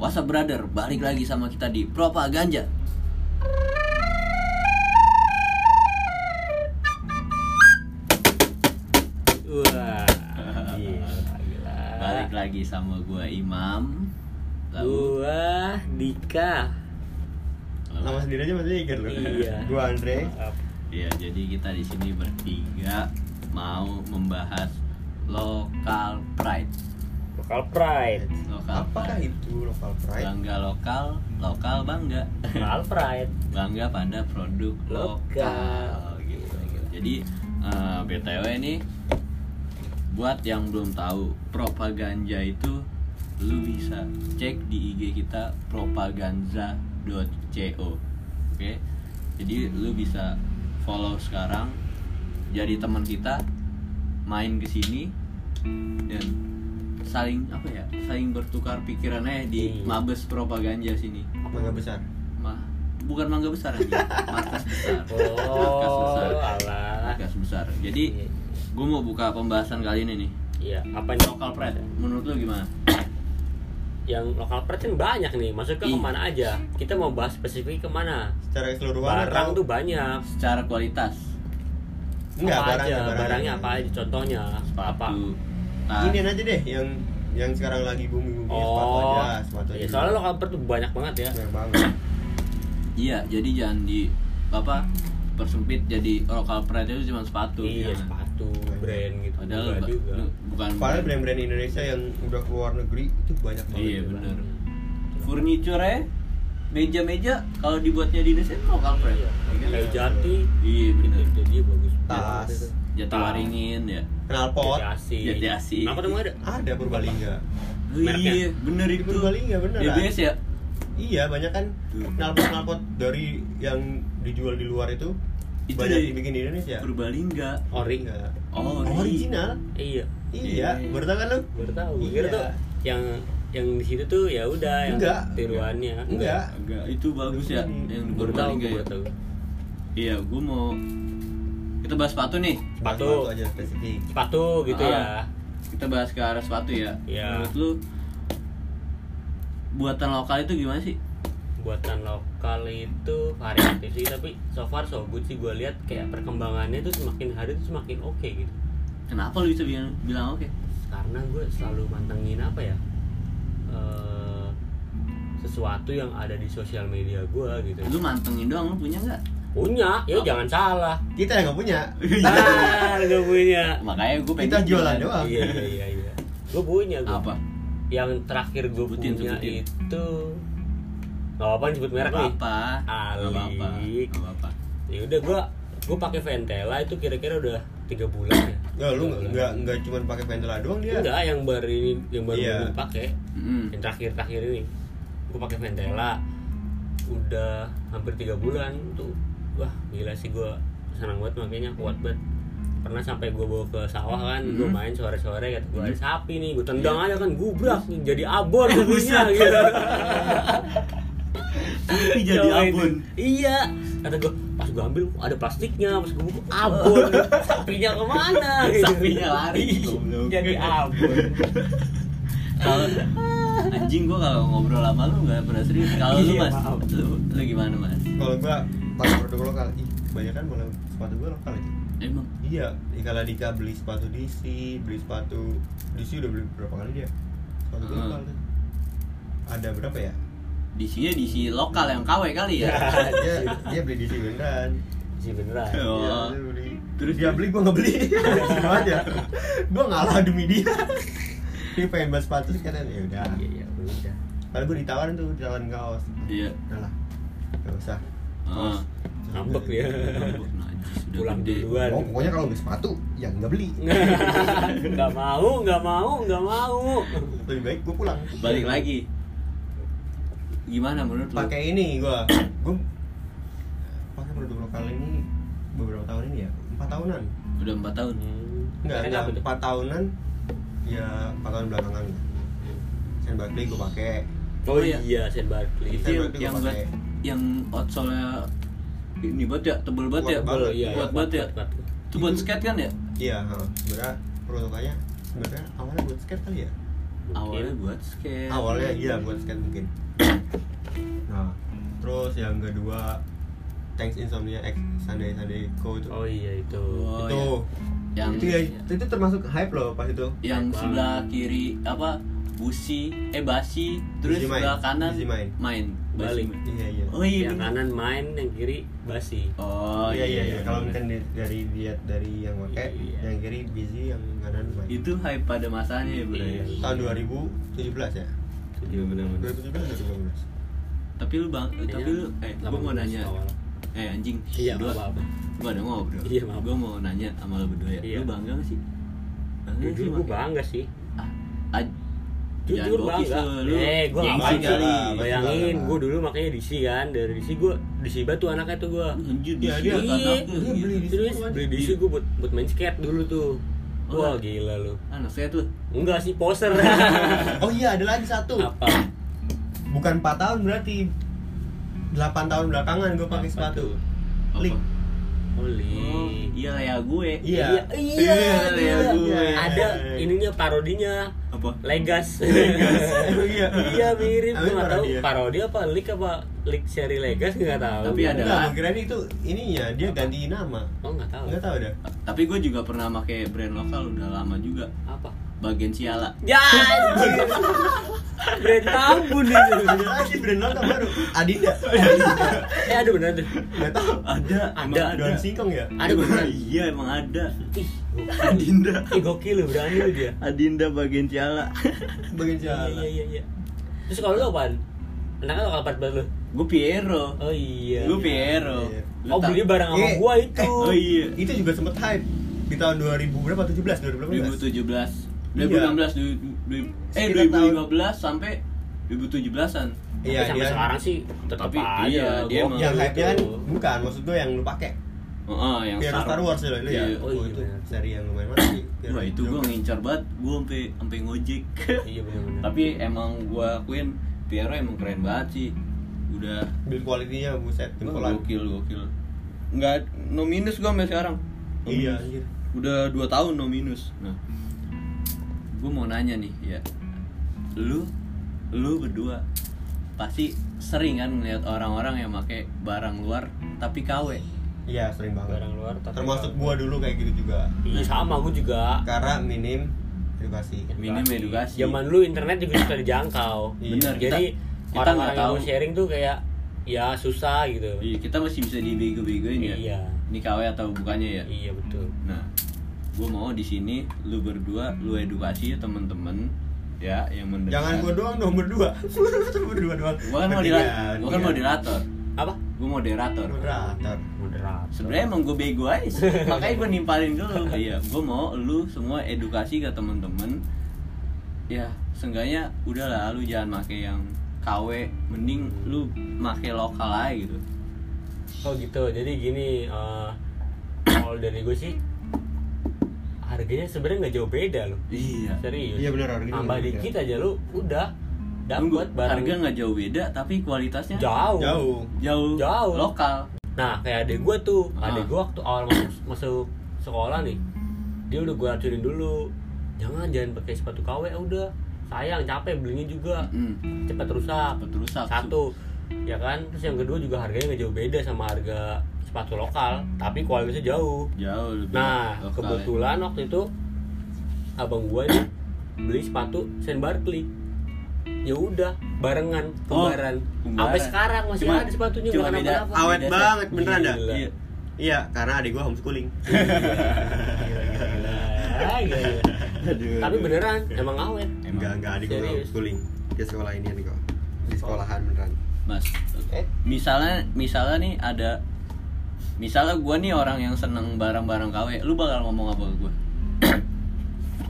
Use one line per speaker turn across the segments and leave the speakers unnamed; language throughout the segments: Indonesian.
What's up brother, balik lagi sama kita di Propaganda
Wah, gila, gila.
Balik
Ah.
lagi sama gua Imam Lalu
Gua Dika.
Uh, Nama sendiri aja masih Iger loh.
Iya.
Gua Andre.
Ya jadi kita di sini bertiga mau membahas local pride
Lokal pride.
Lokal
Apakah
pride
itu local pride?
Bangga lokal, lokal bangga
Lokal pride.
Bangga pada produk lokal,
Lokal.
gitu. Jadi eh, BTW ini buat yang belum tahu propaganda itu lu bisa cek di IG kita propaganda.co oke jadi lu bisa follow sekarang jadi teman kita main ke sini dan saling apa ya saling bertukar pikirannya di
Iya.
mabes propaganda sini
Mangga besar.
mah bukan mangga besar aja markas besar markas
Oh, Iya.
besar
alah.
markas besar jadi gue mau buka pembahasan kali ini nih
Iya, apa nih
lokal pride menurut lu gimana
Yang lokal pride kan banyak nih. Masuknya
Iya.
kemana aja? Kita mau bahas spesifik kemana?
Secara keseluruhan
Barang
atau-
tuh banyak.
secara kualitas
Enggak,
apa aja?
barangnya, barangnya. Iya,
Barangnya apa aja? Contohnya apa?
sepatu tas
Ini aja deh yang yang sekarang lagi booming booming sepatu
Oh,
aja, sepatu aja.
iya, soalnya lokal pride tuh banyak banget ya.
banyak banget.
iya jadi jangan di apa persempit jadi lokal pride itu cuma sepatu
Iya,
jangan.
sepatu, brand gitu.
padahal
Enggak
ba-
juga.
lu- bukan
Padahal brand-brand Indonesia yang udah keluar negeri itu banyak banget.
Iya, bener.
Hmm.
furniture ya meja-meja kalau dibuatnya di Indonesia itu lokal pride
Iya. Kayu
iya,
jati.
iya bener
Itu dia bagus.
Tas.
Jatiwaringin ya
Kenalpot.
Jati
Jati Asih.
Asih. Kenapa tuh nggak ada?
Ada Purbalingga.
Mereknya?
iya bener
Di
itu
Purbalingga bener.
DBS ya
Iya, banyak kan knalpot-knalpot dari yang dijual di luar itu,
Itu
banyak
dari-
dibikin di
Iya.
Indonesia.
Purbalingga
Ori.
Enggak.
Oh, di-
original.
Iya.
Iya,
Iya.
baru tahu kan lu?
Baru tahu.
Iya.
Kira tuh yang yang di situ tuh ya udah yang
Enggak.
tiruannya.
Enggak.
Agak itu bagus ya
Ini.
yang di
Hmm, Baru tahu,
Purbalingga ya.
baru tahu.
Iya, gue mau kita bahas sepatu nih.
Sepatu.
Sepatu aja spesifik.
Sepatu gitu
Ah.
ya.
Kita bahas ke arah sepatu ya.
Iya.
Menurut lu buatan lokal itu gimana sih?
Buatan lokal itu variatif sih tapi so far so good sih gue lihat kayak perkembangannya tuh semakin hari tuh semakin oke gitu.
Kenapa lu bisa bilang, bilang oke?
karena gue selalu mantengin apa ya eh, sesuatu yang ada di sosial media gue gitu
Lu mantengin doang lu punya nggak?
punya ya
Apa?
jangan salah
Kita yang nggak punya.
ah gue punya
Makanya gue pengen
Kita jualan doang.
iya iya iya, iya. gue punya gue
Apa?
yang terakhir gue
Sebutin,
punya
sebutin.
itu nggak apa sebut merek
Nggak
nih
apa? Nggak apa-apa.
Alik.
Nggak apa-apa.
ya udah gue gue pakai Ventela itu kira-kira udah tiga bulan ya
Nggak, lu nggak nggak cuma pakai pentela doang dia.
enggak yang baru ini yang baru
Iya.
gue pakai
Mm.
yang terakhir terakhir ini gue pakai Ventela udah hampir tiga bulan tuh wah gila sih gue senang banget makanya kuat banget pernah sampai gue bawa ke sawah kan gue
Mhm.
main sore-sore kata gue
Mhm.
sapi nih gue tendang aja kan gubrak nih, jadi abon kubunya gitu
Tapi jadi
Cobain.
abon.
iya kata gue pas gue ambil ada plastiknya pas gue buka abon sapinya kemana gitu.
Sapinya lari, goblok.
jadi abon
Kalau anjing gua kalau ngobrol sama lu nggak pernah serius. Kalau lu
Iya,
mas,
maaf.
lu, lu gimana mas?
Kalau gua pakai produk lokal, ih kebanyakan malah sepatu gua lokal aja.
Emang
Iya, kalau Dika beli sepatu DC, beli sepatu DC udah beli berapa kali dia? Sepatu gua
Hmm.
lokal tuh. Ada berapa ya?
di sini di sini lokal yang KW kali ya.
dia, dia beli DC beneran.
Iya, sih beneran
Oh.
Iya, dia beli.
Terus
Terus dia
terus?
beli, gua nggak beli. Sedih banget ya. Gua ngalah demi dia. dia pengen bahas sepatu sekarang ya udah.
iya iya udah
Kalau gua ditawarin tuh ditawarin kaos.
Iya.
Udah lah. Gak usah.
Ah.
ngambek ya. dia
Ampun, najis, udah
pulang
gede.
duluan
Oh, pokoknya kalau beli sepatu ya nggak beli.
nggak mau nggak mau nggak mau
Lebih baik gue pulang.
Balik lagi. Gimana menurut lu?
Pakai ini gue. gue pakai produk lokal ini beberapa tahun ini ya, empat tahunan.
Udah 4 tahun. Hmm.
Enggak,
Merek
enggak
apa tuh?
empat tahunan. Ya empat tahun belakangan. Sen Barkley gue pakai.
Oh
oh
iya.
iya Sen Barkley
Itu yang
Saya berarti
yang
gua
buat
pakai.
yang outsole ini buat ya tebel banget ya.
Kuat banget, iya,
Kuat
iya,
banget ya.
kuat, kuat.
Itu buat skate kan ya?
Iya, ha, sebenarnya produknya sebenarnya awalnya buat skate kali ya.
awalnya buat skate
awalnya iya buat skate mungkin nah terus yang kedua thanks insomnia x sunday sunday co itu
oh iya itu
Oh,
itu
iya. yang
itu, ya, itu, itu termasuk hype loh pas itu
yang
Wah.
sebelah kiri apa busi eh basi terus
Busi main.
sebelah kanan
Busi main.
Basi
Balik.
main.
iya iya
oh iya
yang
bener.
kanan main yang kiri basi
oh
iya iya, iya.
iya,
kalau
iya.
mungkin di- dari lihat dari yang pakai
Iya.
yang kiri busy yang kanan main
itu hype pada masanya ya bro ya?
Iya.
tahun 2017 ya
iya benar-benar
2017 2018
tapi lu bang tapi lu eh gua mau nanya eh anjing
Iya,
berdua.
apa-apa.
gua ada ngobrol
Iya, maaf.
gua mau nanya sama lu berdua ya
Iya.
lu bangga gak sih bangga gak
jujur gue
Mak?
bangga sih
Ah, ah, jangan
jujur
bokis
bangga
lu, lu
eh gue
gengsi
ngapain
kali.
kali
Pasti
bayangin
bangga.
gue dulu makanya di si kan dari si gue di si batu anaknya tuh gue
Anjir,
Iya,
di
dia-
sini
iya,
anaknya,
dia beli
gitu.
di-
terus
situ aja.
beli di si gue buat buat main skate dulu tuh
Oh.
wah gila lu
anak saya tuh
enggak sih poser
oh iya ada lagi satu
apa
bukan 4 tahun berarti 8 tahun belakangan gue pakai
Apa
sepatu
tuh?
Apa?
Link.
Oh,
Oli
iya ya gue
Iya.
Hmm. iya,
Iya,
iya,
gue.
ada ininya parodinya
apa
Legas.
Emang iya
iya mirip
Tapi
gue nggak tahu
parodi ya?
parodi apa leak apa leak seri Legas nggak tahu.
Tapi ada.
Enggak, gua kirain itu ininya dia ganti nama.
Oh nggak tahu.
Enggak tahu dah.
tapi gue juga pernah pakai brand lokal udah lama juga
Apa?
bagian siala
Ya. anjir. Brand tambun itu.
Ada lagi brand lokal baru. Adinda.
Eh aduh benar tuh.
Enggak tahu.
ada
Ada,
emang
Daun singkong ya?
Ada beneran.
iya emang ada
Ih,
Adinda
ih, gokil lu berani lu dia.
Adinda bagian ciala
Bagian
Iya iya
jalan.
iya. iya. Terus kalau lu apaan? Anaknya lokal part banget lu.
gue Piero
Oh iya.
gue Piero
Iya.
Lu
Oh
tak-
beli barang sama
Eh,
gua itu.
oh iya
Itu juga sempet hype di tahun 2000 berapa? 17,
2017
2018. ya? Iya.
2016 du- du- eh
Sekitar tahun-
2015 sampai 2017an
Iya,
Iya,
sampai
dia.
sekarang sih tetap
Tapi
aja.
iya, dia
gokil
emang-
Yang hype-nya kan
itu.
bukan, maksud gue yang lu pakai.
Oh, oh, yang
Piero Star Wars ya, lu ya.
Iya.
Oh,
Oh,
iya,
itu
benar.
seri yang lumayan mantap sih.
Wah itu gue ngincar banget, gue sampai sampai ngojek.
Iya benar-benar.
Tapi emang gue akuin Piero emang keren banget sih. Udah
build quality-nya buset
wah,
jempolan.
gokil gokil. Nggak no minus gue sampai sekarang. No
Iya,
minus.
anjir.
Udah 2 tahun no minus. Nah, gue mau nanya nih ya, lu lu berdua pasti sering kan melihat orang-orang yang pakai barang luar tapi KW.
Iya, sering banget.
barang luar tapi
Termasuk gua dulu kayak gitu juga.
Iya sama gue juga.
Karena minim edukasi.
Minim edukasi.
Zaman lu internet juga sudah dijangkau.
Iya.
Bener,
Jadi
kita
orang-orang
nggak
yang
tahu.
mau sharing tuh kayak ya susah gitu.
Iya, kita masih bisa dibego-begoin ya.
Iya.
Ini KW atau bukannya ya?
Iya betul.
Nah, gue mau di sini lu berdua lu edukasi ya temen-temen ya yang mendengar.
Jangan gua doang dong berdua. Cuma berdua doang.
Gua kan moderator.
Bertigaan,
Gua kan
iya.
moderator.
Apa?
Gue moderator.
Moderator.
Moderat.
Sebenarnya emang gue bego aja sih. Makanya gue nimpalin dulu. Iya, gue mau lu semua edukasi ke temen-temen. Ya, seenggaknya udahlah lu jangan make yang KW, mending lu make lokal aja gitu.
Oh gitu. Jadi gini eh, kalau dari gue sih harganya sebenarnya nggak jauh beda loh.
Iya.
Serius.
Iya, benar, harganya
Tambah
nggak beda.
dikit aja lu udah dapat
Buat
barang
harga nggak jauh beda tapi kualitasnya
jauh.
Jauh.
jauh,
Jauh.
lokal.
Nah, kayak adek gue tuh,
Ah.
adek gue waktu awal masuk, masuk sekolah nih, dia udah gue acurin dulu, jangan jangan pakai sepatu KW, ah udah sayang capek belinya juga,
Mm,
cepat rusak.
Cepat rusak.
Satu, ya kan. Terus yang kedua juga harganya nggak jauh beda sama harga sepatu lokal, tapi kualitasnya jauh.
Jauh lebih
Nah,
lokal ya.
kebetulan waktu itu abang gue nih beli sepatu Saint Barkley. Ya udah, barengan,
Oh,
kembaran.
kembaran.
Sampai sekarang masih
Cuma-
ada sepatunya
cuma
bukan
beda
apa-apa.
Awet
Beda,
banget beneran dah.
Gila.
Iya.
Iya, karena adik gua homeschooling.
Ah, iya, iya.
Aduh.
Tapi beneran emang awet.
Enggak, enggak adik gua
Serius.
homeschooling. Dia sekolah ini adik gua. Di sekolahan beneran.
Mas,
Eh?
misalnya misalnya nih ada misalnya gua nih orang yang seneng barang-barang KW, lu bakal ngomong apa ke gua?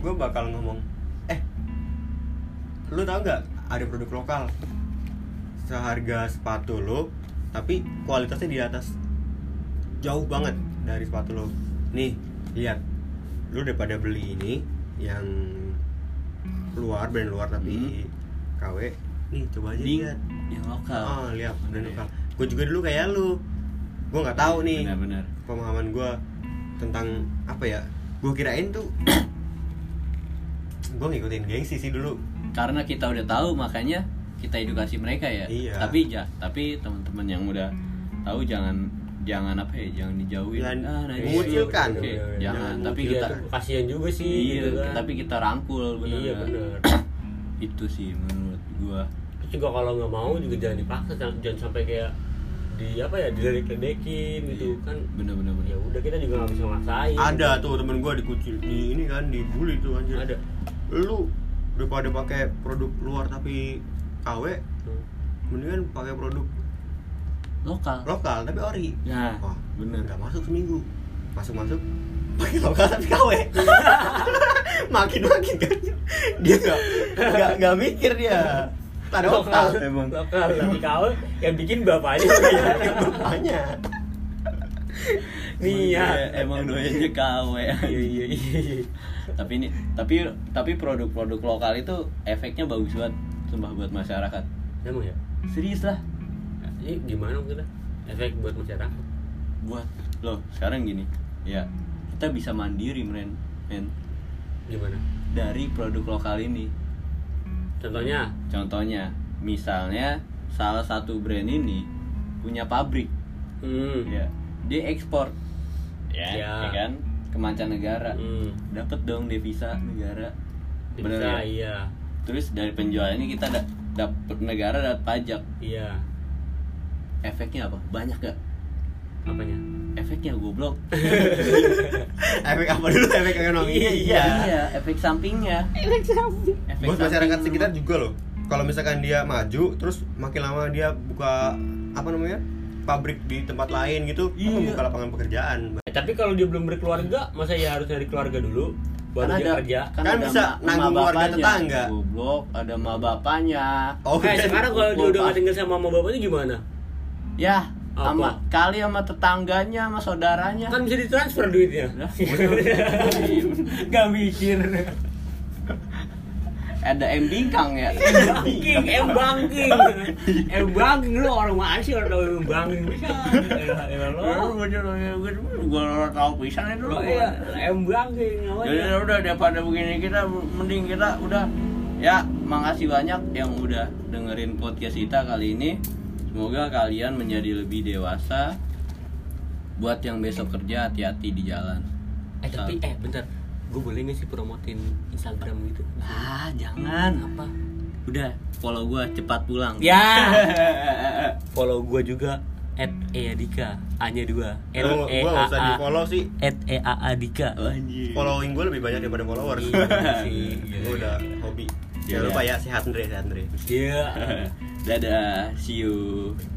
Gua bakal ngomong, "Eh, lu tau nggak ada produk lokal seharga sepatu lo, tapi kualitasnya di atas jauh banget dari sepatu lo. Nih, lihat. Lu daripada beli ini yang luar brand luar tapi KW, Hmm. nih coba aja
Ding,
lihat.
yang lokal.
Oh,
Ah, lihat brand
Bener ya?
lokal. Gue juga dulu kayak lu. Gue nggak tahu nih
Benar-benar.
pemahaman gue tentang apa ya. Gue kirain tuh gue ngikutin gengsi sih dulu.
karena kita udah tahu makanya kita edukasi mereka ya
Iya.
tapi ja tapi teman-teman yang udah tahu jangan jangan apa ya jangan dijauhin
Jangan
nah itu-
mengucilkan.
oke,
Iya, iya.
jangan tapi
Iya,
kita
tuh, kasihan juga sih
iya
gitu kan.
tapi kita rangkul bener
iya
nggak?
bener
itu sih menurut gua
terus juga kalau nggak mau juga jangan dipaksa jangan, jangan sampai kayak di apa ya diledek-ledekin
Iya.
gitu kan
bener-bener bener.
ya udah kita juga nggak bisa maksain
ada tuh temen gue dikucil di ini kan dibully tuh anjir
Ada.
lu udah pada pakai produk luar tapi KW
Hmm.
mendingan pakai produk
lokal
lokal tapi ori
Ya.
Nah, bener.
nggak masuk seminggu masuk masuk pakai lokal tapi KW makin makin kan dia nggak nggak nggak mikir dia ada
lokal
otak emang
lokal tapi kau yang bikin bapaknya gimana?
banyak
nih ya
Iya, emang doyannya KW
iya iya iya
tapi ini tapi tapi produk-produk lokal itu efeknya bagus banget sumpah buat masyarakat
emang ya
serius lah
ini gimana kita efek buat masyarakat
buat loh sekarang gini ya kita bisa mandiri men men
gimana
dari produk lokal ini
contohnya
contohnya misalnya salah satu brand ini punya pabrik
hmm
ya dia ekspor ya,
Ya.
ya kan ke mancanegara
hmm
dapat dong devisa negara Bener
bisa
ya?
iya
terus dari penjualannya kita da- dapat negara dapat pajak
iya
efeknya apa banyak gak
apanya
efeknya goblok
efek apa dulu efek ekonomi
iya efek sampingnya efek
buat
samping
masyarakat
lu.
sekitar juga loh kalau misalkan dia maju terus makin lama dia buka apa namanya pabrik di tempat lain gitu
Iya.
buka lapangan pekerjaan
Eh, tapi kalau dia belum berkeluarga masa ya harus dari keluarga dulu
Kan
baru dia kerja
Kan
ada
bisa
ma-
nanggung
ma
keluarga
bapaknya.
tetangga.
goblok ada ma bapaknya
oh
eh
iya.
sekarang kalau dia udah nggak tinggal sama mama bapaknya gimana
ya
Apa?
sama kali sama tetangganya sama saudaranya
kan bisa ditransfer duitnya
Lah, Iya. bener.
nggak mikir
ada M bingkang ya
bangking eh bangking eh bangking lu orang mana sih orang tahu bangking bisa Eh, eh, lo
gue tau pisang itu
lo ya em bangking
Jadi
namanya
udah daripada begini kita mending kita udah ya makasih banyak yang udah dengerin podcast kita kali ini. Semoga kalian menjadi lebih dewasa. Buat yang besok kerja hati-hati di jalan.
eh tapi eh bentar gue boleh nggak sih promotin Instagram gitu
ah jangan.
apa
Udah follow gua cepat pulang.
Ya. follow gue juga at Eadika A nya dua L
Lu-
E
gua
A
nggak usah
A
di follow sih
at E A A Dika
Anjir.
following gue lebih banyak daripada followers gue udah hobi
Iya,
jangan lupa
iya.
ya sehat Andre sehat Andre
Iya.
Dadah, see you.